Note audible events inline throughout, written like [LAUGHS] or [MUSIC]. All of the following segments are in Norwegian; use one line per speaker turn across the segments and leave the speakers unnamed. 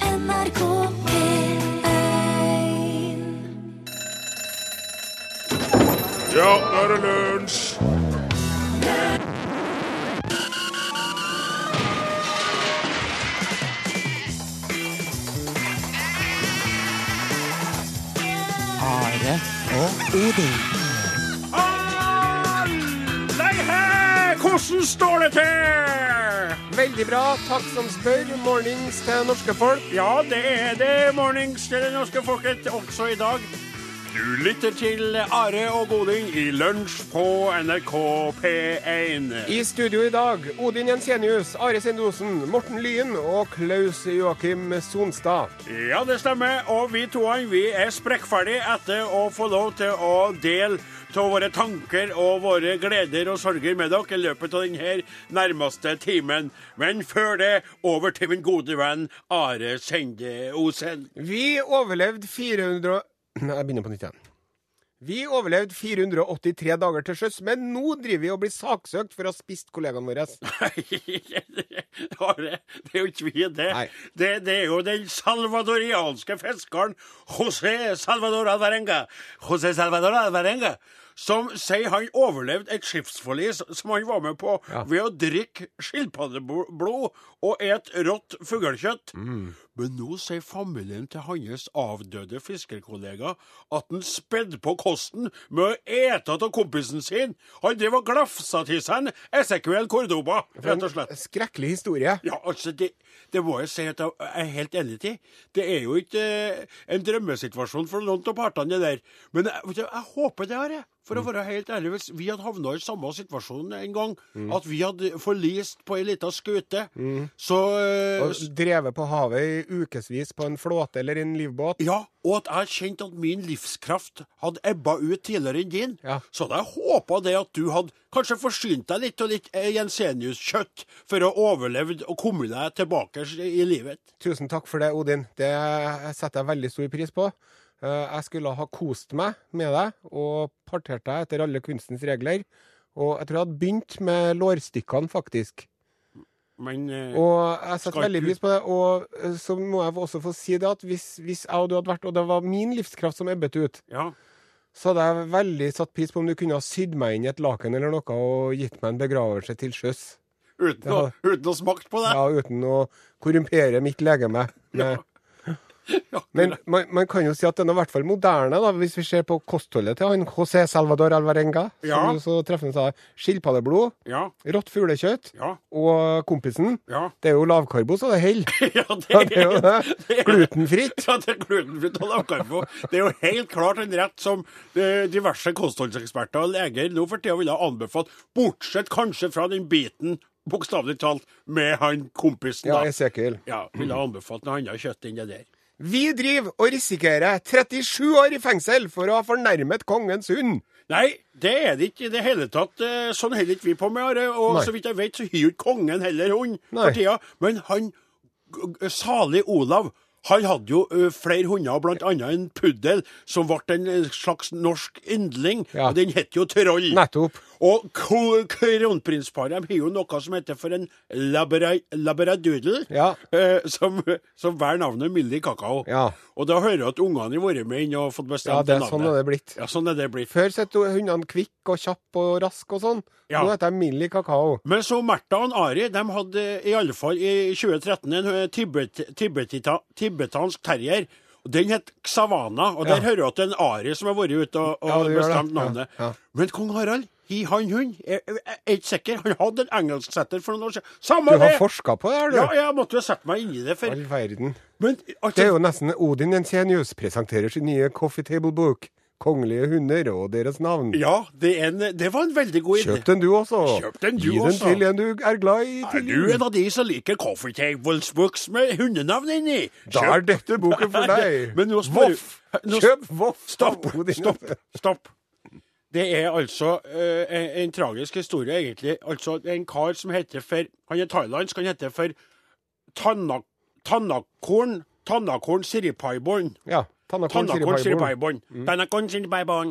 NRK P1
Ja, nå er det lunsj!
Are og Odin.
Nei, hei! Hvordan står det til?
Veldig bra. Takk som spør. Mornings til norske folk.
Ja, det er det, mornings til det norske folket, også i dag. Du lytter til Are og Goding i lunsj på NRK P1.
I studio i dag Odin Jensenius, Are Sendosen, Morten Lyen og Klaus Joakim Sonstad.
Ja, det stemmer. Og vi toene vi er sprekkferdige etter å få lov til å dele av våre tanker og våre gleder og sorger med dere i løpet av denne nærmeste timen. Men før det, over til min gode venn Are Sende Osen. [LAUGHS]
Vi overlevde 400 Nei, jeg begynner på nytt igjen. Vi overlevde 483 dager til sjøs, men nå driver vi og blir saksøkt for å ha spist kollegaene våre.
Are, det er jo ikke vi, det.
Nei.
det. Det er jo den salvadorianske fiskeren José Salvador Alvarenga. José Salvador Alvarenga. Som sier han overlevde et skipsforlis som han var med på ved å drikke skilpaddeblod og et rått fuglekjøtt. Men nå sier familien til hans avdøde fiskerkollega at han spedde på kosten med å ete av kompisen sin. Han drev og glafsa til seg en Esequiel Cordoba, rett og slett.
Skrekkelig historie.
Ja, altså, det, det må jeg si at jeg er helt enig i. Det er jo ikke eh, en drømmesituasjon for noen av partene, det der. Men jeg, vet du, jeg håper det har jeg. For å være helt ærlig, hvis vi hadde havna i samme situasjon en gang, at vi hadde forlist på ei lita skute, så eh,
Og
s-
drevet på havet i ukevis på en flåte eller en livbåt.
ja, og at jeg kjente at min livskraft hadde ebba ut tidligere enn din.
Ja.
Så hadde jeg håpa det at du hadde kanskje forsynt deg litt av litt eh, Jensenius-kjøtt for å ha overlevd og kommet deg tilbake i livet.
Tusen takk for det, Odin. Det setter jeg veldig stor pris på. Eh, Jeg skulle ha kost meg med deg og partert deg etter alle kunstens regler. Og jeg tror jeg hadde begynt med lårstykkene, faktisk.
Men eh,
Og jeg setter
Skal
veldig
du-
pris på det. Og eh, så må jeg også få si det at hvis, hvis jeg og du hadde vært, og det var min livskraft som ebbet ut,
ja.
så hadde jeg veldig satt pris på om du kunne ha sydd meg inn i et laken eller noe og gitt meg en begravelse til sjøs.
Uten, å, uten å smakt på det.
Ja, uten å korrumpere mitt legeme. Med,
Ja.
Men man, man kan jo si at den er i hvert fall moderne, da, hvis vi ser på kostholdet til han José Salvador Alvarenga.
Ja.
Som jo så treffende sa skilpaddeblod,
Ja,
rått fuglekjøtt
ja,
og kompisen.
ja. [LAUGHS]
Det er jo lavkarbo, så det holder.
Ja,
Ja, [LAUGHS] det er
[LAUGHS]
jo
det
det.
er-
Glutenfritt.
Ja, det er glutenfritt og lavkarbo. Det er jo helt klart en rett som eh, diverse kostholdseksperter og leger nå for tida ville ha anbefalt, bortsett kanskje fra den biten, bokstavelig talt, med han kompisen,
Ja,
da.
Esekiel.
Ja, ville ha anbefalt noe annet kjøtt enn det der.
Vi driver og risikerer 37 år i fengsel for å ha fornærmet kongens hund.
Nei, det er det ikke i det hele tatt. Eh, Sånn holder ikke vi på med Are. Og
Nei.
så vidt jeg vet, så har jo ikke kongen heller hund
Nei.
for tida. Men han g- g- salig Olav, han hadde jo ø, flere hunder, blant annet en puddel som ble en ø, slags norsk yndling.
Ja.
Og den het jo Troll.
Nettopp.
Og ko- kronprinsparet de har jo noe som heter for en labra, labradoodle,
Ja.
eh, som, som bærer navnet Millie Kakao.
Ja.
Og da hører jeg at ungene har vært med inn og fått
Ja,
bestemt
det er
navnet.
sånn er det blitt.
Ja, sånn er det blitt.
Før satt hundene kvikk og kjapp og rask og sånn.
Ja.
Nå heter de Millie Kakao.
Men så Märtha og Ari de hadde i alle fall i 2013 en eh, tibet, tibetita, tibetansk terrier. Og Den het Savana, og der
Ja.
hører du at det er en Ari som har vært ute og, og
Ja, det gjør
bestemt
det. Ja,
navnet.
ja.
Men kong Harald, hi han hund, er er- er ikke sikker. Han hadde en engelsksetter for noen år siden. Samme
Du har
det!
forska på det her, du.
Ja, jeg måtte jo sette meg inn i det. For,
All verden.
men
Det er
altså,
jo nesten Odin Jensenius presenterer sin nye Coffee Table Book. Kongelige hunder og deres navn.
ja, det, er en, det var en veldig god idé.
Kjøp den du også.
Kjøp den du
Gi den
også.
til en du er glad i.
Er
Til
du en av de som liker Coffee Tables books med hundenavn inni?
Da
Kjøp
er dette boken
[LAUGHS]
for deg.
Men nå spør-
Voff.
Nå-
Kjøp Voff.
Stopp!
av Odin.
Stopp! stopp. Det er altså eh, en, en tragisk historie, egentlig. Altså En kar som heter for Han er thailandsk, han heter for Tanna, Tannakorn Tannakorn Siripaiborn.
Ja. Tannakorn
Tannakorn
Siripaiborn.
Siripaiborn.
Mm.
Tannakorn Siripaiborn.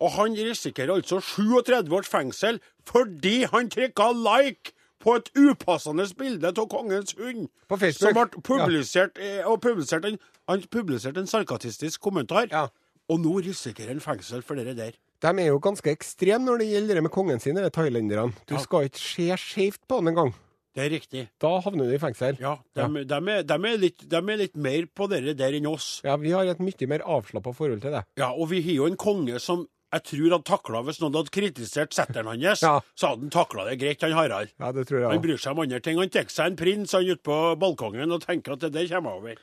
Og han risikerer altså 37 års fengsel fordi han trykka like på et upassende bilde av kongens hund.
På Facebook.
Som ble publisert, eh, og publisert en, han publiserte en sarkastisk kommentar.
Ja.
Og nå risikerer han fengsel for det der.
De er jo ganske ekstreme når det gjelder det med kongen sin, de thailenderne. Du
Ja.
skal ikke se skjevt på han engang.
Det er riktig.
Da havner du i fengsel.
Ja, de, de er, de, er litt, de er litt mer på det der enn oss.
Ja, vi har et mye mer avslappa forhold til det.
Ja, og vi har jo en konge som jeg tror hadde takla hvis noen hadde kritisert setteren hans.
Ja.
Så hadde han takla det greit, han Harald.
Ja, det tror jeg
Han
også.
bryr seg om andre ting. Han tar seg en prins han ute på balkongen og tenker at det der kommer over.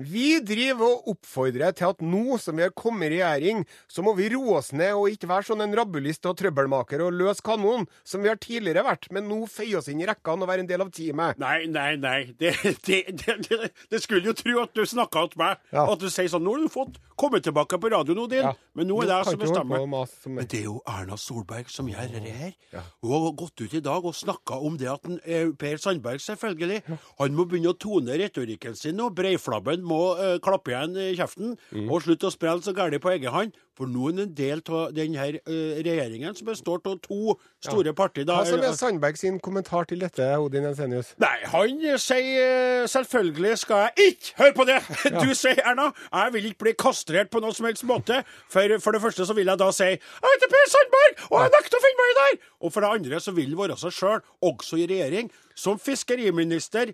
Vi driver og oppfordrer til at nå som vi har kommet i regjering, så må vi roe oss ned og ikke være sånn en rabbelist og trøbbelmaker og løs kanon som vi har tidligere vært, men nå føye oss inn i rekkene og være en del av teamet.
Nei, nei, nei. Det, det, det, det, det skulle jo tro at du snakka til meg.
Ja.
At du sier sånn Nå har du fått komme tilbake på radioen, Odin,
Ja.
men nå er det jeg
kan
som
ikke holde på
bestemmer.
å mase som-
Men det er jo Erna Solberg som gjør det her. Hun har gått ut i dag og snakka om det at en, eh, Per Sandberg, selvfølgelig, han må begynne å tone retorikken sin nå. Breiflabben må eh, klappe igjen i kjeften
Mm.
og slutte å sprelle så gærent på egen hånd. For nå er han en del av denne eh, regjeringen som består av to store partier. da.
Hva som
Eh,
er Sandberg sin kommentar til dette, Odin Jensenius?
Nei, han sier eh, selvfølgelig skal jeg ikke Hør på det!
[LAUGHS]
Du sier, Erna, jeg vil ikke bli kastrert på noen som helst måte. For, for det første så vil jeg da si jeg heter Per Sandberg, og jeg nekter å finne meg i der! Og for det andre så vil han være seg sjøl, også i regjering, som fiskeriminister.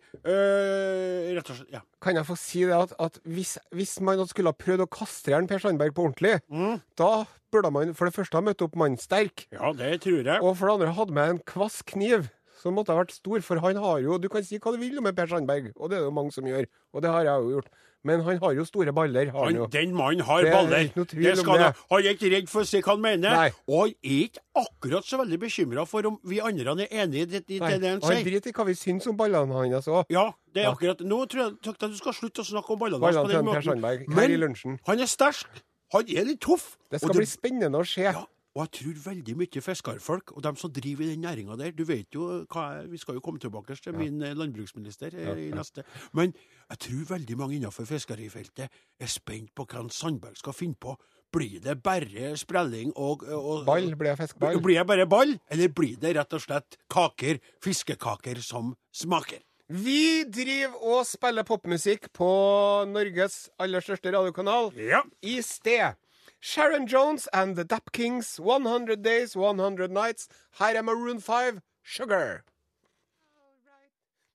eh, rett og slett. Ja.
Kan jeg få si det at, at hvis, hvis man hadde skulle ha prøvd å kastrere en Per Sandberg på ordentlig,
Mm.
da burde man for det første ha møtt opp mannsterk.
ja, det tror jeg.
Og for det andre hadde med en kvass kniv, som måtte ha vært stor, for han har jo Du kan si hva du vil om en Per Sandberg, og det er det jo mange som gjør, og det har jeg jo gjort. Men han har jo store baller, har han
Han,
jo.
den mannen har
Det er
baller.
ikke noe tvil
Det
om
skal
det.
han ha. Han er ikke redd for å si hva han mener.
Nei.
Og han er ikke akkurat så veldig bekymra for om vi andre er enig i det, i
Nei,
det han
og han
sier.
driter i hva vi syns om ballene hans òg.
Ja, det er akkurat Nå tror jeg takk, du skal slutte å snakke om ballene hans
Ballene
på
til
den
en Per
måten.
Sandberg her i
Men
lunsjen.
han er sterk. Han er litt tøff.
Det
og
skal bli spennende å se.
ja, og jeg tror veldig mye fiskerfolk og dem som driver i den næringa der Du vet jo eh, hva jeg- Vi skal jo komme tilbake til min eh, landbruksminister eh, i neste. Men jeg tror veldig mange innenfor fiskerifeltet er spent på hva han Sandberg skal finne på. Blir det bare sprelling og, eh, og
Ball ble jeg fiskeball.
Blir det bare ball, eller blir det rett og slett kaker, fiskekaker, som smaker?
Vi driver og spiller popmusikk på Norges aller største radiokanal.
Ja.
i sted. Sharon Jones and The Dap Kings, 100 Days, 100 Nights. Her er Maroon 5, Sugar.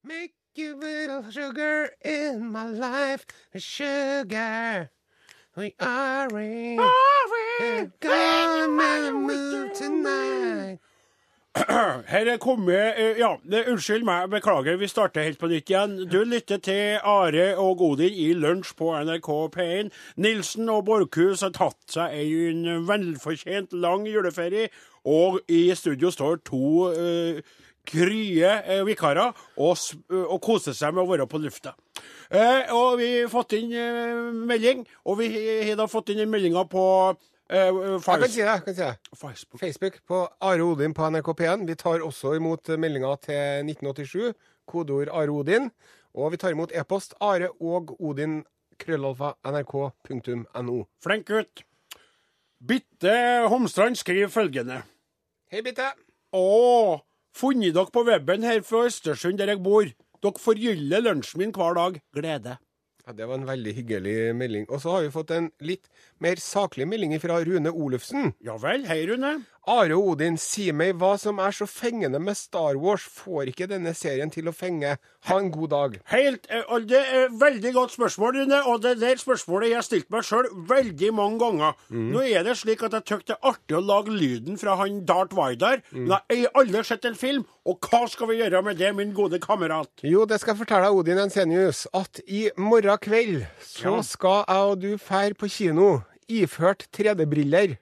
Make you little sugar in my life, sugar. We are in. Gonna move tonight.
Her er kommet eh, Ja, det- unnskyld meg, beklager, vi starter helt på nytt igjen. Du lytter til Are og Godin i Lunsj på NRK P1. Nilsen og Borchhus har tatt seg en velfortjent lang juleferie, og i studio står to eh, krye eh, vikarer og, s- eh, og koser seg med å være på lufta. Eh, og vi har fått inn eh, melding, og vi har da fått inn meldinga på eh,
Jeg kan si det. jeg kan si det.
Facebook.
Facebook på Are Odin på NRK P1. Vi tar også imot meldinga til 1987, kodeord Are Odin. Og vi tar imot e-post are og odin krøllalfa nrk.no.
Flink gutt. Bitte Homstrand skriver følgende.
Hei, Bitte.
Å, funnet dere på webben her fra Østersund, der jeg bor. Dere forgyller lunsjen min hver dag. Glede.
Ja, det var en veldig hyggelig melding. Og så har vi fått en litt mer saklig melding fra Rune Olufsen.
Ja vel, hei Rune.
Are og Odin, si meg hva som er så fengende med Star Wars. Får ikke denne serien til å fenge. Ha en god dag.
Helt, eh, og det er Veldig godt spørsmål, Rune. Og det der spørsmålet jeg stilte meg sjøl veldig mange ganger. Nå er det slik at jeg syns det er artig å lage lyden fra han Dart Vidar, men jeg har aldri sett en film. Og hva skal vi gjøre med det, min gode kamerat?
Jo, det skal jeg fortelle deg, Odin Ensenius, at i morgen kveld så
Ja.
skal jeg og du fære på kino iført 3D-briller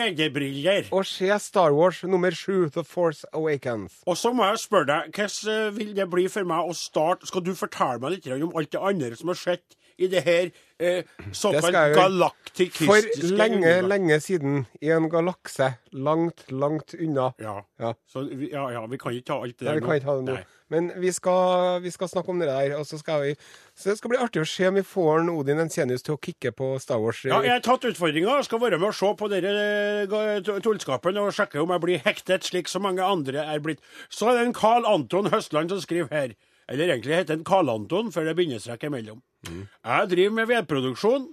Tredjebriller.
og se Star Wars nummer 7, The Force Awakens.
Og så må jeg spørre deg, hvordan eh, vil det bli for meg å starte Skal du fortelle meg litt grann om alt det andre som har skjedd i det her eh, såkalt
skal jeg gjøre.
galaktikistiske
For lenge,
universet?
lenge siden, i en galakse langt, langt unna.
Ja.
Ja.
Så, vi- ja, ja, vi kan ikke ta alt det
Nei,
der
vi kan ikke ha det nå.
Nei.
Men vi skal, vi skal snakke om det der. Og så, skal vi, så det skal bli artig å se om vi får en Odin Ensenius til å kicke på Star Wars. eh,
Ja, jeg har tatt utfordringa. Skal være med og se på dere eh, ga- to- tullskapen og sjekke om jeg blir hektet, slik som mange andre er blitt. Så er det en Karl Anton Høstland som skriver her. Eller egentlig heter han Karl Anton, for det er bindestrek imellom.
Mm.
Jeg driver med vedproduksjon,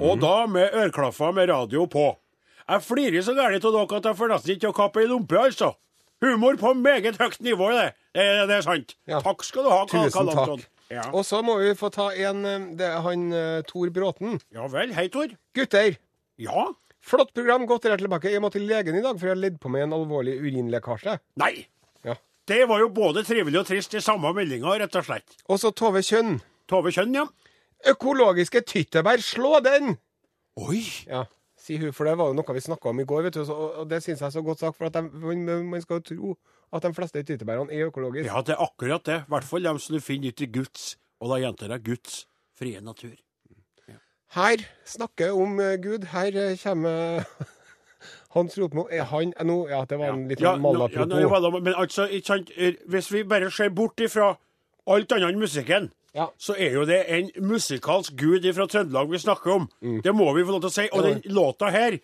og da med ørklaffer med radio på. Jeg flirer så gærent av dere at jeg får nesten ikke til å kappe ei lompe, altså. Humor på meget høyt nivå, det. Det, det er sant.
Ja.
Takk skal du ha, Karl,
Tusen
Karl Anton.
takk.
Ja.
Og så må vi få ta en eh, Det er han eh, Tor Bråten.
ja vel. Hei, Tor.
Gutter!
Ja.
Flott program, godt rett tilbake. Jeg må til legen i dag, for jeg har ledd på meg en alvorlig urinlekkasje.
Nei.
Ja.
Det var jo både trivelig og trist i samme meldinga, rett og slett.
Og så Tove Kjønn.
Tove Kjønn, ja.
Økologiske tyttebær, slå den!
Oi!
Ja, sier hun, for det var jo noe vi snakka om i går, vet du, så- og og det syns jeg er så godt sagt, for at de, man, man skal jo tro at de fleste tyttebærene er økologiske.
Ja, det er akkurat det. I hvert fall dem som du finner ute i Guds, og da gjentar jeg Guds, frie natur.
Her snakker jeg om eh, Gud. Her eh, kommer [LAUGHS] Hans Rotmo. Er han eh, nå, Ja, det var en litt
Ja,
sånn
nå- ja,
malapropos.
nå er det malapropos, men altså, ikke sant, eh, hvis vi bare ser bort ifra alt annet enn musikken,
Ja.
så er jo det en musikalsk gud fra Trøndelag vi snakker om. Mm. Det må vi få lov til å si. Og den låta her,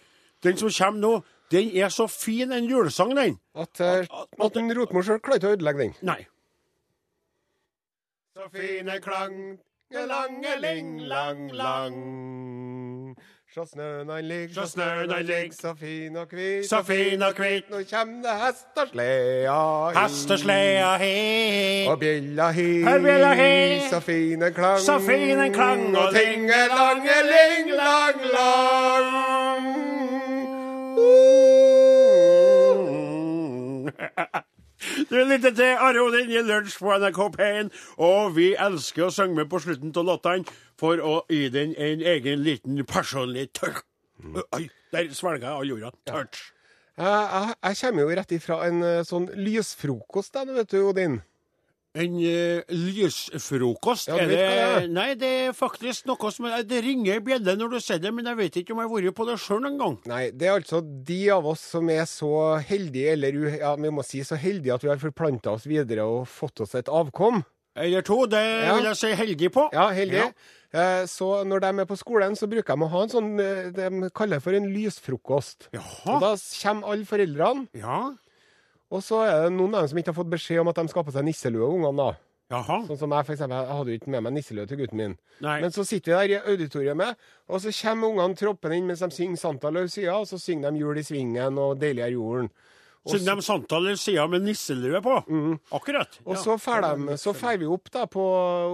den som kommer nå, den er så fin en julesang, den.
At, eh, at en Rotmo sjøl klarer ikke å ødelegge den.
Nei.
Så fine klang, lang. Sjå snøen han ligg,
Sjå snøen han ligg.
så fin og hvit.
Så fin og hvit.
Nå kjem det hest og slea hi.
Hesteslea he.
Og bjella hi.
Og bjella hi.
Så fin en klang.
Så fin en klang.
Og tingelangeling lang lang.
[LAUGHS]
Uh.
Du lytter til Are Odin i lunsj på NRK P1, og vi elsker å synge med på slutten av låtene for å gi den en egen liten personlig touch.
Mm.
Oi, der svelga jeg all jorda. Touch.
Jeg, jeg, jeg kommer jo rett ifra en eh, sånn lysfrokost, da, vet du, Odin.
En eh, lysfrokost?
Ja, du
er
vet
det
hva det er.
Nei, det er faktisk noe som eh, Det ringer i bjelle når du ser det, men jeg vet ikke om jeg har vært på det sjøl engang.
Nei, det er altså de av oss som er så heldige, eller u- ja, vi må si så heldige at vi har forplanta oss videre og fått oss et avkom.
Eller to, det
Ja.
vil jeg si heldig på.
Ja, heldige. Eh, Så når de er på skolen, så bruker de å ha en sånn eh, de kaller for en lysfrokost. Og
Jaha.
da kommer alle foreldrene,
Ja.
og så er det noen av dem som ikke har fått beskjed om at de skal ha på seg nisselue, ungene da.
Jaha.
Sånn som jeg, for eksempel. Jeg hadde jo ikke med meg nisselue til gutten min.
Nei.
Men så sitter vi der i auditoriet med, og så kommer ungene troppende inn mens de synger Santa Lucia, og så synger de Jul i svingen og Deilig er jorden.
Siden de Santa Lucia med nisselue på. Akkurat. Ja.
Og så fer de- så fer vi opp, da, på,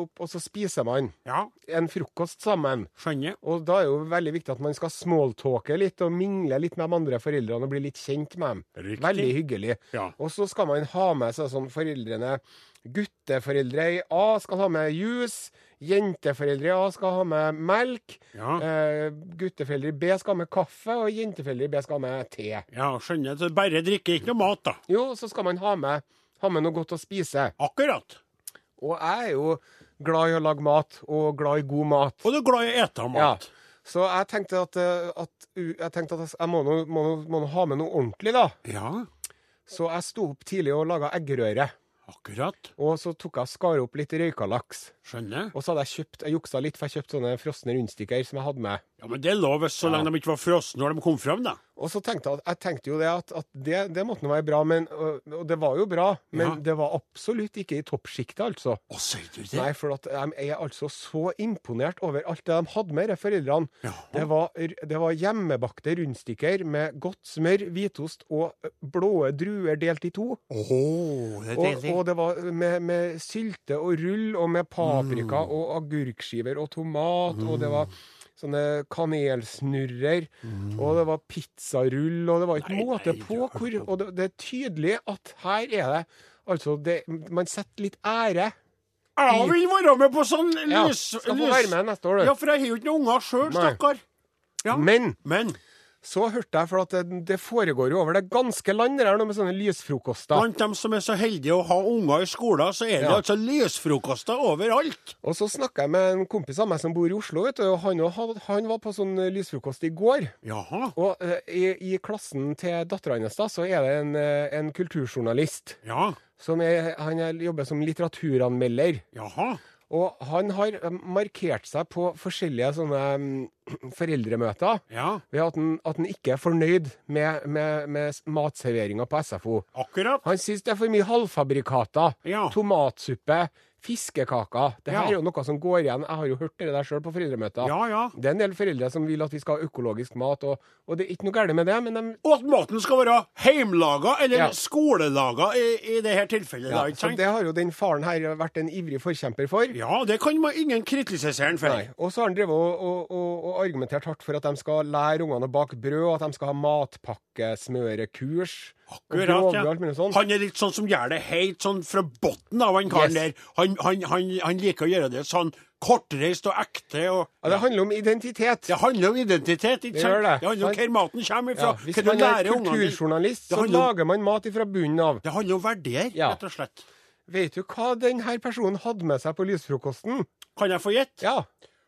opp, og så spiser man
Ja,
en frokost sammen.
skjønner.
Og da er jo veldig viktig at man skal smalltalke litt og mingle litt med de andre foreldrene og bli litt kjent med dem.
Riktig.
Veldig hyggelig.
Ja.
Og så skal man ha med seg sånn foreldrene Gutteforeldre i A skal ha med juice. Jenteforeldre i A skal ha med melk.
Ja.
Eh, gutteforeldre i B skal ha med kaffe, og jenteforeldre i B skal ha med te.
Ja, skjønner. Så bare drikke, ikke noe mat, da.
Jo, så skal man ha med, ha med noe godt å spise.
Akkurat.
Og jeg er jo glad i å lage mat, og glad i god mat.
Og du er glad i å ete mat.
Så jeg tenkte at, eh, at, u- jeg, tenkte at jeg s- jeg må nå- må nå- må nå ha med noe ordentlig, da.
Ja,
Så jeg sto opp tidlig og laga eggerøre.
akkurat.
Og så tok jeg og skar opp litt røyka laks.
Skjønner.
Og så hadde jeg kjøpt, jeg juksa litt, for jeg kjøpte sånne frosne rundstykker som jeg hadde med.
Ja, Men det er lov så lenge de ikke var frosne når de kom fram, da.
Og så tenkte jeg, at- jeg tenkte jo det at, at det, det måtte nå være bra, men, og, og det var jo bra, men
Ja.
det var absolutt ikke i toppsjiktet, altså.
Å, sier du det?
Nei, for at de er altså så imponert over alt det de hadde med, de foreldrene.
Ja.
Det var, det var hjemmebakte rundstykker med godt smør, hvitost og blå druer delt i to.
Åh, det er
Og,
deilig.
og det var med, med sylte og rull, og med paprika
Mm.
og agurkskiver og tomat, og det var sånne kanelsnurrer, og det var pizzarull, og det var ikke
Mm. Nei,
måte
nei,
på
du har
hvor
hørt om-
Og det, det er tydelig at her er det Altså, det, man setter litt ære.
Jeg vil være med på sånn
Ja,
lys...
skal få være med neste år, du.
Ja, for jeg har jo ikke noen unger sjøl,
Nei.
stakkar. Ja.
Men
Men
Så hørte jeg, for at det, det foregår jo over det ganske land, det der nå med sånne lysfrokoster.
Blant dem som er så heldige å ha unger i skolen, så er det
Ja.
altså lysfrokoster overalt.
Og så snakka jeg med en kompis av meg som bor i Oslo, vet du, og han, og han- han var på sånn lysfrokost i går.
Jaha.
Og eh, i, i klassen til dattera hennes da, så er det en, eh, en kulturjournalist.
Ja.
Som er, han er, jobber som litteraturanmelder.
Jaha.
Og han har eh, markert seg på forskjellige sånne mm, foreldremøter
Ja.
ved at han, at han ikke er fornøyd med, med, med s- matserveringa på SFO.
Akkurat.
Han syns det er for mye halvfabrikater.
Ja.
Tomatsuppe, fiskekaker. Det her
Ja.
er jo noe som går igjen. Jeg har jo hørt det der sjøl på foreldremøter.
Ja, ja.
Det er en del foreldre som vil at vi skal ha økologisk mat, og, og det er ikke noe galt med det, men de
Og at maten skal være heimlaga eller
Ja.
skolelaga i, i det her tilfellet.
ja,
da, ikke
så
sant?
Det har jo den faren her vært en ivrig forkjemper for.
Ja, det kan man ingen kritisere han for.
Nei. Og så har han drevet og, og, og, og argumentert hardt for at de skal lære ungene å bake brød, og at de skal ha matpakkesmørekurs. og
Akkurat,
grover
ja.
og alt mulig sånt.
Han er litt sånn som gjør det helt sånn fra bunnen av han karen
Yes.
der. Han, han, han, han liker å gjøre det sånn kortreist og ekte. og...
Ja, det handler om identitet.
Det handler om identitet, ikke
Det
sant?
gjør det.
Det handler om
Sant?
hvor maten kommer
Ja,
ifra.
Hvis
hva du
man er
lærer ungene dine.
kulturjournalist,
Det
så
handler om-
lager man mat ifra bunnen av.
Det handler om verdier,
Ja.
rett og slett.
Vet du hva denne personen hadde med seg på lysfrokosten?
Kan jeg få gjette?
Ja.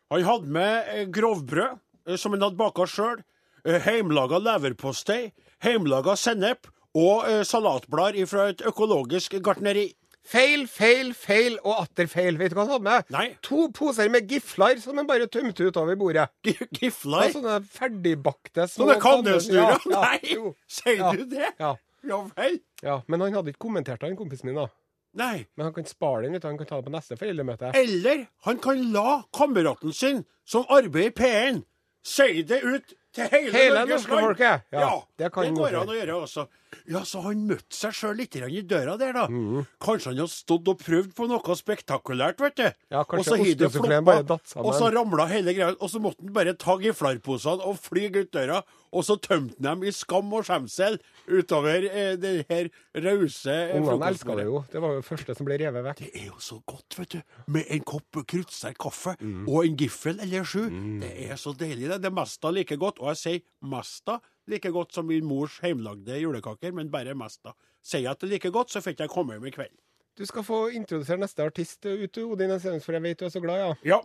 Han hadde med eh, grovbrød, eh, som han hadde baka sjøl. Heimlaga leverpostei. Heimlaga sennep. Og eh, salatblad fra et økologisk gartneri.
Feil, feil, feil og atter feil. Vet du hva han hadde med?
Nei.
To poser med gifler som han bare tømte utover bordet.
Gifler.
Ja, sånne ferdigbakte små
Sånne
Ja,
kandelsnurrer.
Altså, ja,
Nei!
jo.
Sier
Ja.
du det?
Ja,
Ja vel.
ja. Men han hadde ikke kommentert det, han kompisen min. da.
Nei.
Men han kan spare den, vet du. han kan ta det på neste foreldremøte.
Eller han kan la kameraten sin, som arbeider i P1, si det ut til hele,
Hele
Norges
norske
land.
folket, ja.
ja,
Det
det,
kan han
går
også.
an å gjøre også. Ja, Så han møtte seg sjøl litt grann i døra der, da.
Mm.
Kanskje han har stått og prøvd på noe spektakulært, vet du.
Ja, kanskje
Og så har det
ostesuffleen
floppa,
bare datt sammen.
Og så ramla hele greia, og så måtte han bare ta giflarposene og fly ut døra. Og så tømte han dem i skam og skjemsel utover eh, det her rause eh,
Ungene
frokostbordet.
elska det jo. Det var jo det første som ble revet vekk.
Det er jo så godt, vet du. Med en kopp kruttsterk kaffe og en giffel eller sju. Det er så deilig. Det Det er mesta like godt. Og jeg sier mesta like godt som min mors hjemlagde julekaker, men bare mesta. Sier jeg at det er like godt, så fikk jeg komme hjem i kveld.
Du skal få introdusere neste artist eh, ut, du, Odin Ensenius, for jeg vet du er så glad, ja.
Ja.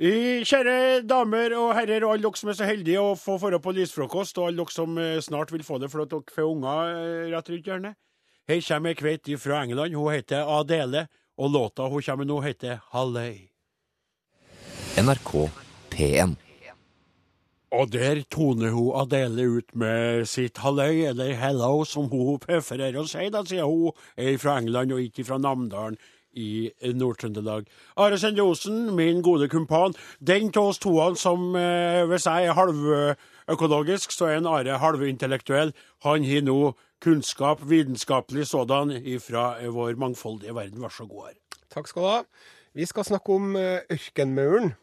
I, kjære damer og herrer og alle dere som er så heldige å få dra på lysfrokost, og alle dere som eh, snart vil få det for at dere får unger eh, rett rundt hjørnet. Her kommer ei kveite fra England. Hun heter Adele, og låta hun kommer nå, heter Halløy.
NRK P1.
Og der toner hun Adele ut med sitt halløy, eller hello, som hun prefererer å si, da, siden hun er fra England og ikke fra Namdalen i Nord-Trøndelag. Are Sende Osen, min gode kumpan, den av oss toene som, eh, hvis jeg er halvøkologisk, så er en Are halvintellektuell. Han har nå kunnskap, vitenskapelig sådan, fra vår mangfoldige verden. Vær så god, Are. [LAUGHS]
Takk skal du ha. Vi skal snakke om eh, ørkenmauren.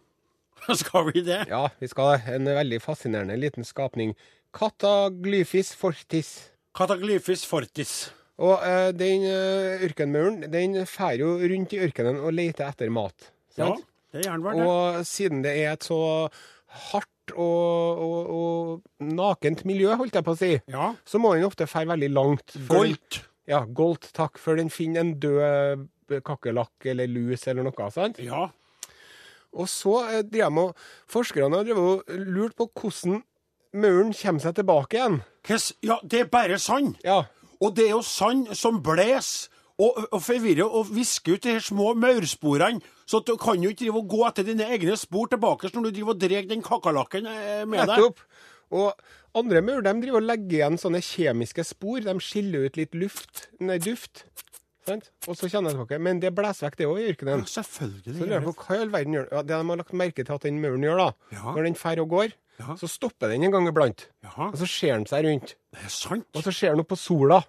Skal vi det?
Ja, vi skal en veldig fascinerende liten skapning. Kataglyfis fortis.
Kataglyfis fortis.
Og eh, den eh, ørkenmauren, den fær jo rundt i ørkenen og leter etter mat.
Ja,
sant?
det er gjerne vel det.
Og siden det er et så hardt og, og, og nakent miljø, holdt jeg på å si,
Ja.
så må den ofte fære veldig langt. før den-
Golt.
Ja, Golt, takk. Før den finner en død kakerlakk eller lus eller noe. sant?
Ja.
Og så eh, drev de og, forskerne har drevet og lurt på hvordan mauren kommer seg tilbake igjen.
Hvordan- ja, det er bare sand.
Ja,
Og det er jo sand som bles og, og forvirrer og visker ut de her små maursporene. Så at du kan jo ikke drive og gå etter dine egne spor tilbake når du driver og drar den kakerlakken eh, med deg.
nettopp. Og andre maur de driver og legger igjen sånne kjemiske spor. De skiller ut litt luft, nei, duft. Sant? Og så kjenner jeg tilbake. Men det blåser vekk, det òg, i
Ja,
ørkenen. Så
selvfølgelig.
lurer jeg
gjør
på hva i all verden gjør ja, Det de har lagt merke til at den mauren gjør, da,
Ja.
når den fer og går,
Ja.
så stopper den en gang iblant.
Ja,
Og så ser den seg rundt.
det er sant.
Og så ser den opp på sola.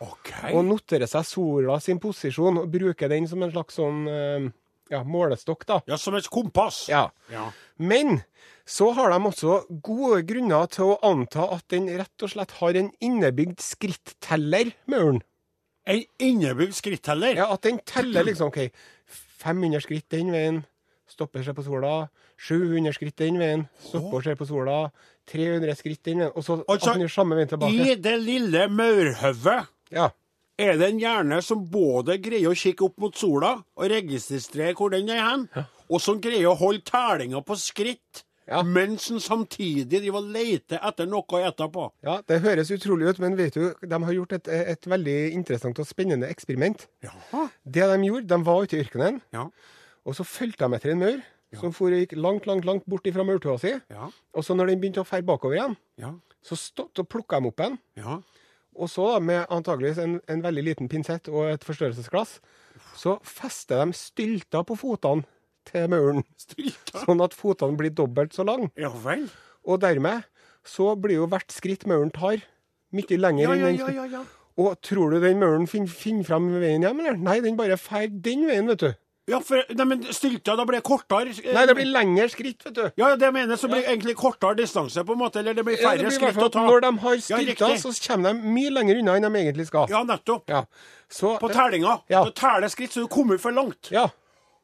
OK.
og noterer seg sola sin posisjon og bruker den som en slags sånn eh, ja, målestokk, da.
Ja, som et kompass.
Ja.
Ja.
Men så har de også gode grunner til å anta at den rett og slett har en innebygd skritteller, mauren.
En innebygd skritteller.
Ja, at den teller liksom OK, 500 skritt den veien, Stopper og ser på sola. 700 skritt den veien. Stopper og ser på sola. 300 skritt den veien. Og så
Altså,
altså, samme veien tilbake.
I det lille maurhauget
Ja.
er det en hjerne som både greier å kikke opp mot sola og registrere hvor den er hen, og som greier å holde tellinga på skritt.
Ja.
Mens en samtidig driver og leter etter noe å ete på.
ja, det høres utrolig ut, men vet du, de har gjort et, et veldig interessant og spennende eksperiment.
Jaha.
Det de gjorde, de var ute i ørkenen,
Ja.
og så fulgte de etter en maur som for og gikk langt, langt, langt bort fra maurtua si.
Ja.
Og så når den begynte å ferde bakover igjen,
Ja.
så, stopp- så plukka de opp en.
Ja.
Og så, da, med antageligvis en, en veldig liten pinsett og et forstørrelsesglass, så fester de stylter på fotene til mauren,
Stryta.
sånn at fotene blir dobbelt så lang.
Ja vel.
Og dermed så blir jo hvert skritt mauren tar, mye lenger
Ja,
enn
ja,
den
ja, ja, ja.
Og tror du den mauren fin- finner fram veien hjem, eller? Nei, den bare fer den veien, vet du.
ja for, nei, men stylta, da blir det kortere eh,
Nei, det blir lengre skritt, vet du.
Ja, ja, det jeg mener, så blir det egentlig kortere distanse, på en måte. Eller det blir
Ja,
færre
det blir i hvert
skritt å
fall
ta.
at Når de har
Ja,
stylter,
riktig.
så kommer de mye lenger unna enn de egentlig skal.
Ja, nettopp.
Ja. Så,
På tellinga.
Ja.
Du teller skritt, så du kommer for langt.
ja.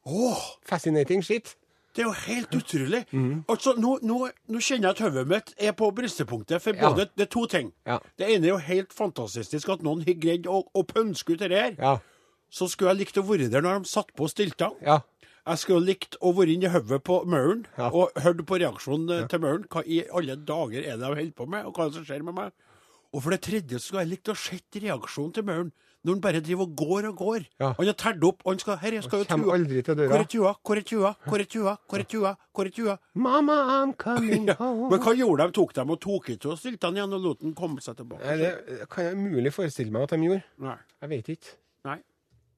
Åh,
Fascinating shit.
det er jo helt utrolig.
Mhm.
Altså, nå, nå, nå kjenner jeg at hodet mitt er på bristepunktet for
Ja.
både Det er to ting.
Ja.
Det ene er jo helt fantastisk at noen har greid å, å pønske ut det her.
Ja.
Så skulle jeg likt å være der når de satt på stylta.
Ja.
Jeg skulle likt å være inni hodet på Mauren
Ja.
og hørt på reaksjonen eh, til Mauren. Hva i alle dager er det de holder på med, og hva er det som skjer med meg? Og for det tredje så skulle jeg likt å sett reaksjonen til Mauren når han bare driver og går og går.
Ja.
Han har tært opp, og han skal Herre, jeg skal jo
Kjem aldri til døra.
Hvor er tua? Hvor er tua? Hvor er tua? Hvor er tua? Hvor er tua?
Mamma, I'm coming
[LAUGHS] Ja.
home.
Men hva gjorde de? Tok de og tok i og stilte han igjen og lot han komme seg tilbake?
Nei, det kan jeg umulig forestille meg at de gjorde.
Nei.
Jeg vet ikke.
Nei.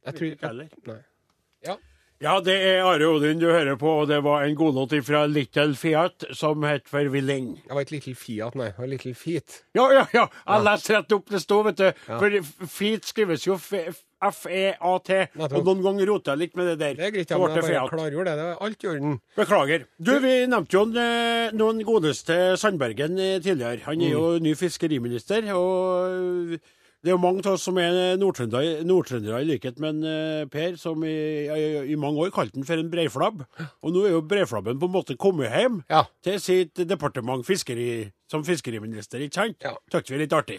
Jeg
Vet ikke heller.
Nei.
Ja, det er Are Odin du hører på, og det var en godlåt fra Little Fiat som het Forvilling.
Jeg var et Little Fiat, nei. Jeg var Little Feet.
Ja, ja, ja. Jeg leste rett opp det sto, vet du. For feet skrives jo f- F-E-A-T.
Nettopp.
Og noen ganger roter jeg litt med det der.
Det er greit, ja,
Så
men
ble
jeg
det
bare
feat.
klargjorde det. Det var alt i orden.
Beklager. Du, vi nevnte jo en, eh, noen godeste Sandbergen eh, tidligere. Han
Mm.
er jo ny fiskeriminister, og eh, det er jo mange av oss som er nordtrøndere, nordtrøndere i likhet med en eh, Per, som i, i, i mange år kalte han for en breiflabb. Og nå er jo breiflabben på en måte kommet hjem
Ja.
til sitt departement fiskeri, som fiskeriminister, ikke sant?
Ja.
Takk vi er litt artig.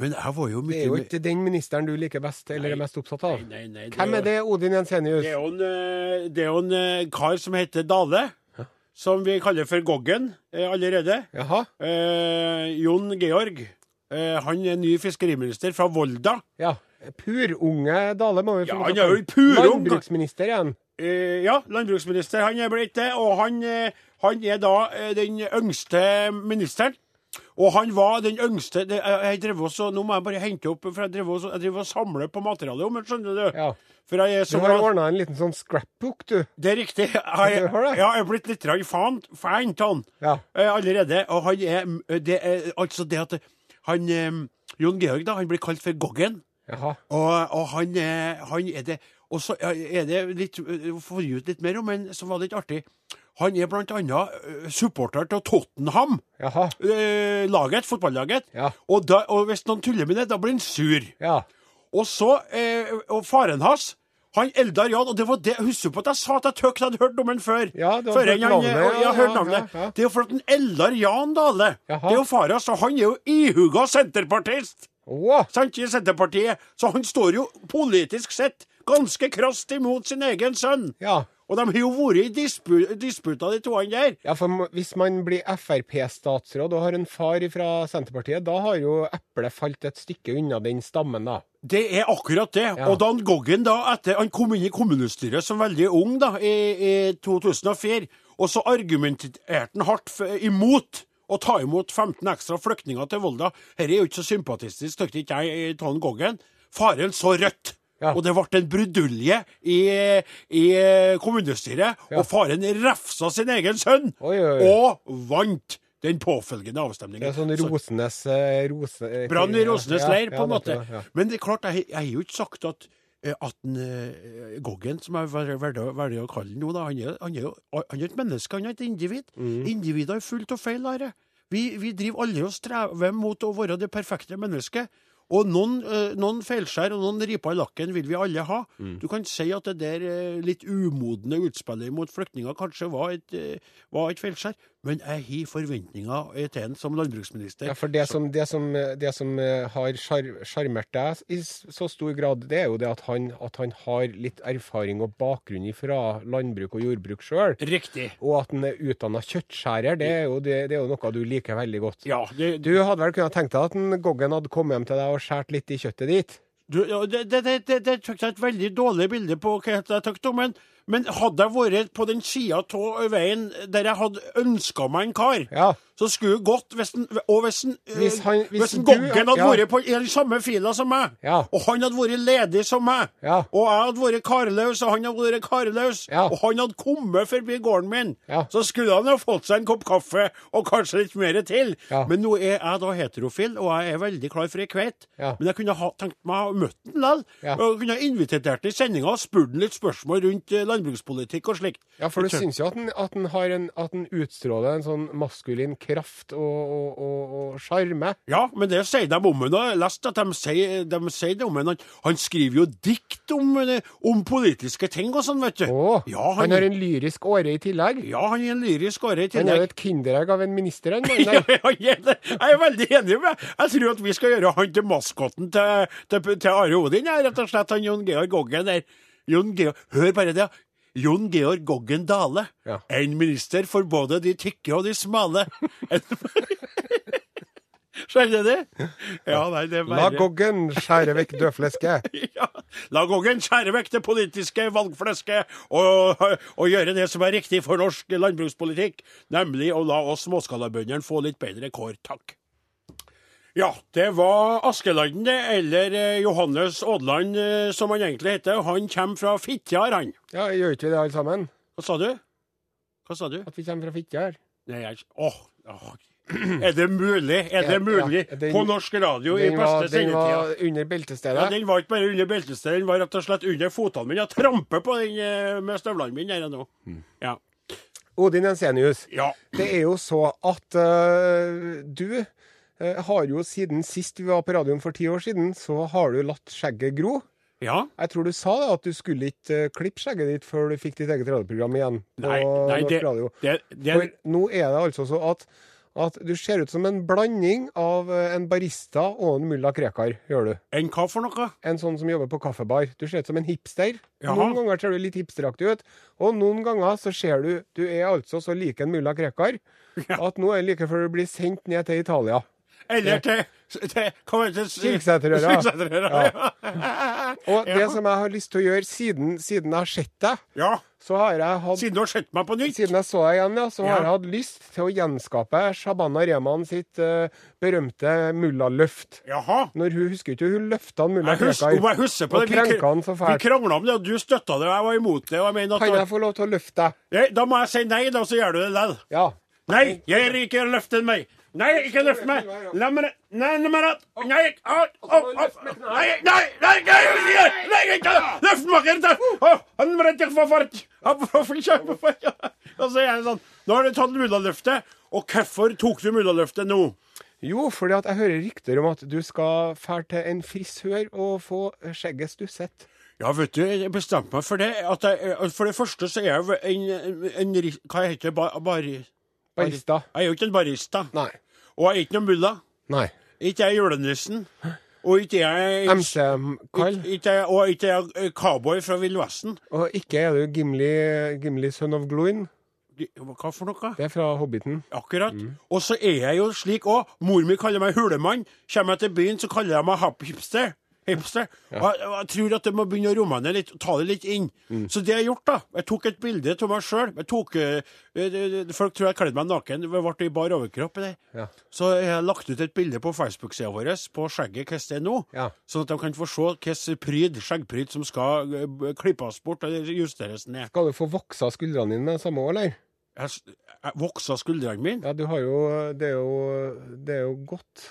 Men jeg var jo
Det
mye
er jo ikke den ministeren du liker best, eller er mest opptatt av.
Nei, nei, det
Hvem
er-
er det, Odin Jensenius?
det er jo en, eh, det er jo en eh, kar som heter Dale, som vi kaller for Goggen eh, allerede.
Jaha?
Eh, Jon Georg. Eh, han er ny fiskeriminister fra Volda.
Ja. Purunge Dale må vi
Ja,
få lov
han
til å
er jo
kalle.
purung.
Landbruksminister igjen.
Eh, ja, landbruksminister. Han er blitt det. Og han, eh, han er da eh, den yngste ministeren. Og han var den yngste det, jeg, jeg drev også, Nå må jeg bare hente opp, for jeg driver også- jeg driver og samler på materialet om det, skjønner du.
Ja.
For jeg er
Du
så
har
glad-
ordna en liten sånn scrapbook, du.
Det er riktig. Jeg,
du har det?
ja, jeg er blitt litt rann fan, fan av han
Ja.
eh, allerede. Og han er mm, det er, Altså det at han eh, Jon Georg, da, han blir kalt for Goggen.
Jaha.
Og, og han, eh, han er det Og så er det litt eh, får vi ut litt mer om men så var det litt artig. Han er blant annet eh, supporter til Tottenham,
Jaha.
eh, laget, fotballaget.
Ja.
Og, da, og hvis noen tuller med det, da blir han sur.
Ja.
Og så, eh, og faren hans, han Eldar Jan, og det var det, husker du på at jeg sa at jeg tøk hadde hørt om han før?
Ja, du hadde
Før
hørt
han-
navnet,
og-
ja,
Ja, hørt
ja,
navnet.
ja, ja.
Det er jo fordi en Eldar Jan Dale,
Jaha.
det er jo faren hans, og han er jo ihuga senterpartist,
Å,
sant, i Senterpartiet, så han står jo politisk sett ganske krast imot sin egen sønn.
Ja.
Og de har jo vært i dispu disputa, de to han der.
Ja, for må- hvis man blir Frp-statsråd og har en far fra Senterpartiet, da har jo eplet falt et stykke unna den stammen, da.
Det er akkurat det. Og da han Goggen da, etter han kom inn i kommunestyret som veldig ung da, i, i 2004, og så argumenterte han hardt for, imot å ta imot 15 ekstra flyktninger til Volda. Dette er jo ikke så sympatistisk, syntes ikke jeg, Ton Goggen. Faren så rødt.
Ja.
Og det ble en brudulje i, i kommunestyret, og faren refsa sin egen sønn,
Oi, oi, oi.
og vant den påfølgende avstemningen.
Det er sånn
Så-
Rosenes eh, rose, eh,
Brann i Rosenes
ja,
leir, på
ja,
en måte.
nettopp, ja.
Men det er klart, jeg jeg har jo ikke sagt at eh, at den, eh, Goggen, som jeg vel- velger velger å kalle den nå, da, han er, han er jo han er et menneske, han er et individ.
Mhm.
Individer er fullt av feil, Are. Vi, vi driver alle og strever mot å være det perfekte mennesket. Og noen, eh, noen feilskjær og noen riper i lakken vil vi alle ha.
Mm.
Du kan si at det der eh, litt umodne utspillet mot flyktninger kanskje var et, eh, var et feilskjær, men jeg har forventninger til en som landbruksminister.
Ja, for det som, det som, det som eh, har sjar- sjarmert deg i s- så stor grad, det er jo det at han, at han har litt erfaring og bakgrunn fra landbruk og jordbruk sjøl.
Riktig.
Og at han er utdanna kjøttskjærer, det er, jo, det, det er jo noe du liker veldig godt.
Ja, det,
Du hadde vel kunnet tenkt deg at en Goggen hadde kommet hjem til deg og skåret litt i kjøttet ditt?
Du, ja, det, det, det, det, det tok jeg et veldig dårlig bilde på hva jeg tok om, men, men hadde jeg vært på den sida av veien der jeg hadde ønska meg en kar,
Ja.
så skulle det gått hvis den, Og hvis, den, eh,
Hvis han- hvis
hvis den
du-
Goggen hadde
ja.
vært på, i den samme fila som meg,
Ja.
og han hadde vært ledig som meg,
Ja.
og jeg hadde vært karløs, og han hadde vært karløs,
Ja.
og han hadde kommet forbi gården min,
Ja.
så skulle han ha fått seg en kopp kaffe og kanskje litt mer til.
Ja.
Men nå er jeg da heterofil, og jeg er veldig klar for ei kveite.
Ja.
Men jeg kunne ha tenkt meg å møte han likevel.
Ja.
Og kunne ha invitert han til sendinga og spurt han litt spørsmål rundt eh, landbrukspolitikk og slikt.
Ja, for du syns jo at den, at den, har en, at den utstråler en sånn maskulin kraft og- og- og og sjarme.
Ja, men det sier de om henne. Jeg har lest at de sier, de sier det om henne. Han, han skriver jo dikt om, eh, om politiske ting og sånn, vet du.
Å,
ja, han,
han, har en lyrisk åre i tillegg.
ja, han er en lyrisk åre i
Han er jo
tillegg.
et kinderegg av en minister, han.
[LAUGHS] Ja,
mannen der.
ja, jeg er det. Jeg er veldig enig med deg. Jeg tror at vi skal gjøre han til maskotten til, til, til Are Odin, ja, rett og slett. Han Jon Georg Goggen der. Jon Georg, hør bare det. ja. Jon Georg Goggen Dale.
Ja.
En minister for både de tykke og de
[LAUGHS]
smale. Skjønner du? Ja, nei, det er
La
bare...
Goggen skjære vekk dødflesket.
[LAUGHS] Ja. La gongen skjære vekk det politiske valgflesket og, og gjøre det som er riktig for norsk landbrukspolitikk, nemlig å la oss småskalabøndene få litt bedre kår, takk. Ja, det var Askelanden, det, eller eh, Johannes Aadland, eh, som han egentlig heter. Han kommer fra Fitjar, han.
Ja, Gjør ikke vi det alle sammen?
Hva sa du? Hva sa du?
At vi kommer fra Fitjar?
Nei, jeg Åh! åh. Er det mulig? Er det
Ja,
mulig?
ja, den-
På norsk radio i
Den var,
beste
den
sendetida?
var under beltestedet.
Ja, Den var ikke bare under beltestedet, den var rett og slett under fotene mine. Jeg tramper på den eh, med støvlene mine her nå. Ja.
Odin Jensenius,
ja.
det er jo så at øh, du øh, har jo siden sist vi var på radioen for ti år siden, så har du latt skjegget gro.
Ja.
Jeg tror du sa det at du skulle ikke øh, klippe skjegget ditt før du fikk ditt eget radioprogram igjen. På
Nei, nei
norsk
det,
radio.
det, det
For nå er det altså så at, at du ser ut som en blanding av øh, en barista og en mulla Krekar, gjør du.
En hva for noe?
en sånn som jobber på kaffebar. Du ser ut som en hipster.
Jaha.
Noen ganger ser du litt hipsteraktig ut, og noen ganger så ser du Du er altså så like en mulla Krekar at nå er det like før du blir sendt ned til Italia.
Eller til, til Hva heter det? [LAUGHS]
Kyrksæterøra.
Kyrksæterøra, ja.
Og
Ja.
det som jeg har lyst til å gjøre siden, siden jeg har sett deg,
ja.
så har jeg hatt
Siden du har sett meg på nytt?
siden jeg så deg igjen, ja, så har
Ja.
jeg hatt lyst til å gjenskape Shabana Rehman sitt eh, berømte mullaløft.
Jaha.
Når hun husker ikke, hun løfta han mulla
Jeg husker, om jeg husker på
og
det. Vi kr-
krenka han så
Vi
fælt.
krangla om det, og du støtta det, og jeg var imot det. Og jeg mener at
Kan jeg få lov til å løfte deg?
Nei, Da må jeg si nei, da, så gjør du det likevel.
Ja.
Nei, jeg er ikke løftet meg. Nei, ikke løft meg. La meg Nei, la meg Nei, opp, opp, opp. Nei, nei, nei, nei, nei, nei, ikke løft meg. ikke. Å, Han må ikke få fart. Han må få kjøpe fart. Og så er jeg sånn Nå har du tatt mullaløftet, og hvorfor tok du mullaløftet nå?
Jo, fordi at jeg hører rykter om at du skal fære til en frisør og få skjegget stusset.
Ja, vet du, jeg bestemte meg for det. At jeg, for det første så er jeg jo en, en, en ri- Hva heter det? Bar, bar, jeg
Barista.
er jo ikke en barista.
Nei.
Og jeg er ikke noen mulla.
Nei.
Ikke jeg julenissen. Og ikke jeg
MC-Carl.
Ikke- Ikke, og ikke jeg eh, cowboy fra Vill Vesten.
Og ikke er du Gimli, Gimli Son of Gloin.
De- Hva for noe?
Det er fra Hobbiten.
Akkurat.
Mm.
Og så er jeg jo slik òg. Mor mi kaller meg hulemann. Kommer jeg til byen, så kaller jeg meg hap- hipster. Hipster. Og jeg, jeg tror at jeg må begynne å romme ned litt, ta det litt inn.
Mm.
Så det har jeg gjort, da. Jeg tok et bilde av meg sjøl. eh, Folk tror jeg kledde meg naken. Jeg ble i bar overkropp. i Det.
Ja.
Så jeg har lagt ut et bilde på Facebook-sida vår på skjegget hvordan det er nå.
Ja.
Sånn at de kan få se hvilken pryd, skjeggpryd som skal eh, b- klippes bort eller justeres ned.
Skal du få voksa skuldrene dine med det samme år, eller?
Jeg, s- jeg voksa skuldrene mine.
Ja, du har jo Det er jo, det er jo godt,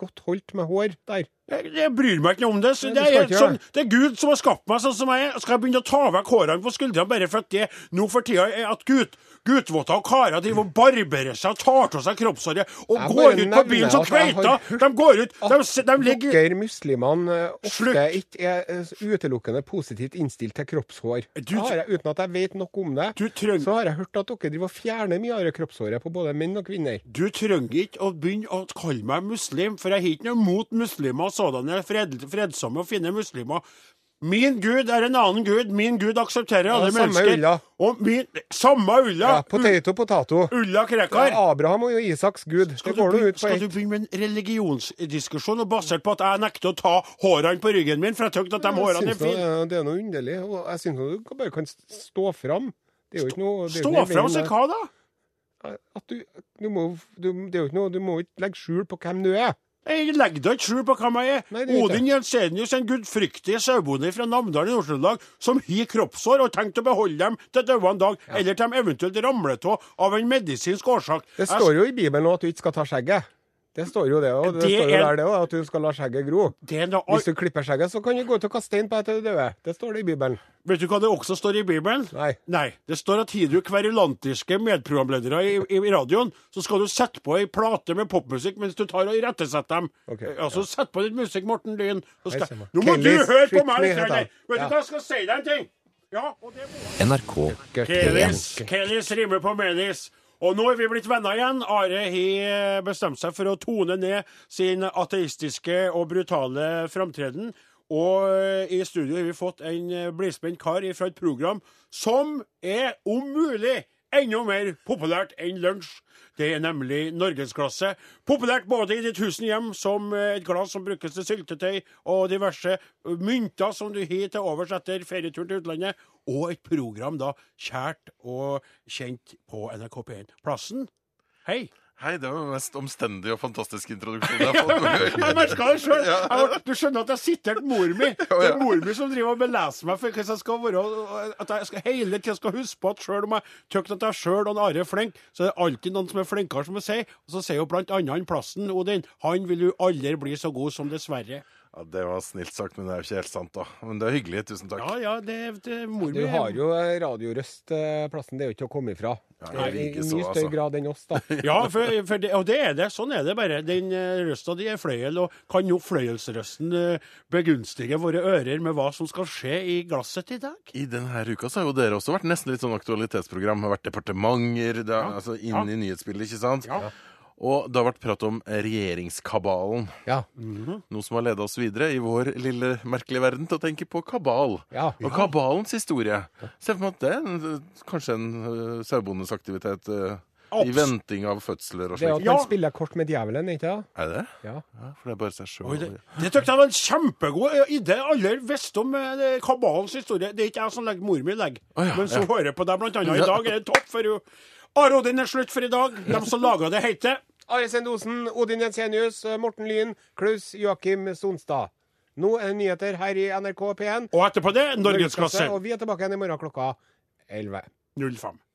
godt holdt med hår der.
Jeg, jeg bryr meg ikke noe om det. Så det,
Nei, du
er
skal
helt
ikke
sånn,
gjøre
det er Gud som har skapt meg sånn som jeg er. Skal jeg begynne å ta vekk hårene på skuldrene bare for at det nå for tida er at gutt, guttvotter og karer driver og barberer seg og tar av seg kroppshåret og
Jeg bare
går ut på bilen
nevner
som
at jeg har
kveiter. De går ut, de, s- de ligger
Dere muslimene eh, ofte
Slutt.
ikke er eh, utelukkende positivt innstilt til kroppshår.
Du-
Da har jeg, uten at jeg vet nok om det,
Du trenger-
så har jeg hørt at dere driver og fjerner mye av det kroppshåret på både menn og kvinner.
Du trenger ikke å begynne å kalle meg muslim, for jeg har ikke noe mot muslimer, sådanne fred, fredsomme og fine muslimer. Min gud er en annen gud. Min gud aksepterer alle
samme
mennesker.
ulla.
Og min, samme ulla!
Ja, potato, potato.
Ulla
Det
Krekar!
er Abraham og Isaks gud.
Skal
Det
du,
går nå
begyn-
ut på
skal du
ett.
begynne med en religionsdiskusjon og basert på at jeg nekter å ta hårene på ryggen min, for jeg syns at de
Jeg
hårene
syns
er
nå,
fine?
eh, Det er noe underlig. og Jeg syns nå du bare kan s- stå fram. Det er jo ikke noe det er
Stå
jo ikke noe i
fram
veien
og si
med-
hva da?
At du, du, må, du, det er jo ikke noe, du må ikke legge skjul på hvem du er.
Jeg legger da ikke skjul på hvem jeg er.
Nei, det gjør ikke
Odin Jensenius, en gudfryktig sauebonde fra Namdalen i Nord-Trøndelag, som har kroppsår og tenkt å beholde dem til døde en dag, eller til de eventuelt ramler av av en medisinsk årsak.
Det står jo i Bibelen nå at du ikke skal ta skjegget. Det står jo det, og det,
Det
står jo
er-
der det òg, at du skal la skjegget gro.
det er noe,
Hvis du klipper skjegget, så kan du gå ut og kaste stein på deg til du døde. Det står det i Bibelen.
Vet du hva det også står i Bibelen?
Nei.
Det står at har du kverulantiske medprogramledere i, i radioen, så skal du sette på ei plate med popmusikk mens du tar og irettesetter dem.
Ok,
Eh, altså, Sett på litt musikk, Morten Lyn. Så
Jeg
skal...
ser meg.
Nå må du
Kelly
høre på
Strictly
meg! litt
heter
grann.
han.
Vet du
Ja.
hva, jeg skal si deg en ting! Ja, og det må...
NRK
Kelis,
P1.
Kelis rimer på menis. Og nå er vi blitt venner igjen. Are har bestemt seg for å tone ned sin ateistiske og brutale framtreden. Og eh, i studio har vi fått en eh, blidspent kar fra et program som er om mulig enda mer populært enn lunsj. Det er nemlig norgesklasse. Populært både i ditt tusen hjem, som eh, et glass som brukes til syltetøy, og diverse eh, mynter som du har til overs etter ferieturen til utlandet, og et program da kjært og kjent på NRK P1. Plassen? Hei.
Hei, det var den mest omstendige og fantastiske
[LAUGHS]
introduksjonen jeg har
Jeg
fått.
merka det sjøl. Du skjønner at jeg siterte mor mi. Det
[LAUGHS] ja.
er mor mi som driver og beleser meg for hvordan jeg skal være. og At jeg skal hele tida skal huske på at sjøl om jeg tykker at jeg sjøl og en Are er flink, så er det alltid noen som er flinkere, som jeg sier. Og så sier jo blant annet han Plassen, Odin, han vil jo aldri bli så god som dessverre.
Ja, det var snilt sagt, men det er jo ikke helt sant, da. Men det er hyggelig. Tusen takk.
Ja ja, det, det mor
Du
mi
har jo eh, radiorøst, eh, plassen. Det er jo ikke å komme ifra.
Nei,
I i
ikke så,
mye større
altså.
grad enn oss,
[LAUGHS]
da.
Ja, for, for det, og det er det. Sånn er det bare. Den eh, røsta di er fløyel, og kan jo fløyelsrøsten eh, begunstige våre ører med hva som skal skje i glasset i dag?
I denne uka så har jo dere også vært nesten litt sånn aktualitetsprogram. Det har vært departementer, det er, altså inn i nyhetsbildet, ikke sant? Og det har vært prat om regjeringskabalen.
Ja.
Noe som har leda oss videre i vår lille merkelige verden til å tenke på kabal.
Ja.
Og kabalens historie. Se for meg at det er en, kanskje en uh, sauebondes aktivitet eh, i
Abs-
venting av fødsler og
Det er at
slikt.
Ja.
man spiller kort med djevelen, ikke sant?
Er det?
Ja.
Ja, for det er bare seg sjøl.
Oi, det det tykte jeg var en kjempegod eh, idé. Alle visste om eh, det- kabalens historie. Det er ikke jeg som legger mor mi legger,
Å ja,
men som
ja.
hører på deg blant annet i dag. er det topp for jo. Are Odin er slutt for i dag. De som laga det, heter
Are Sendosen, Odin Jensenius, eh, Morten Lyn, Klaus Joakim Sonstad. Nå er det nyheter her i NRK P1.
Og etterpå det, norgesklasse
Og vi er tilbake igjen i morgen klokka 11.
05.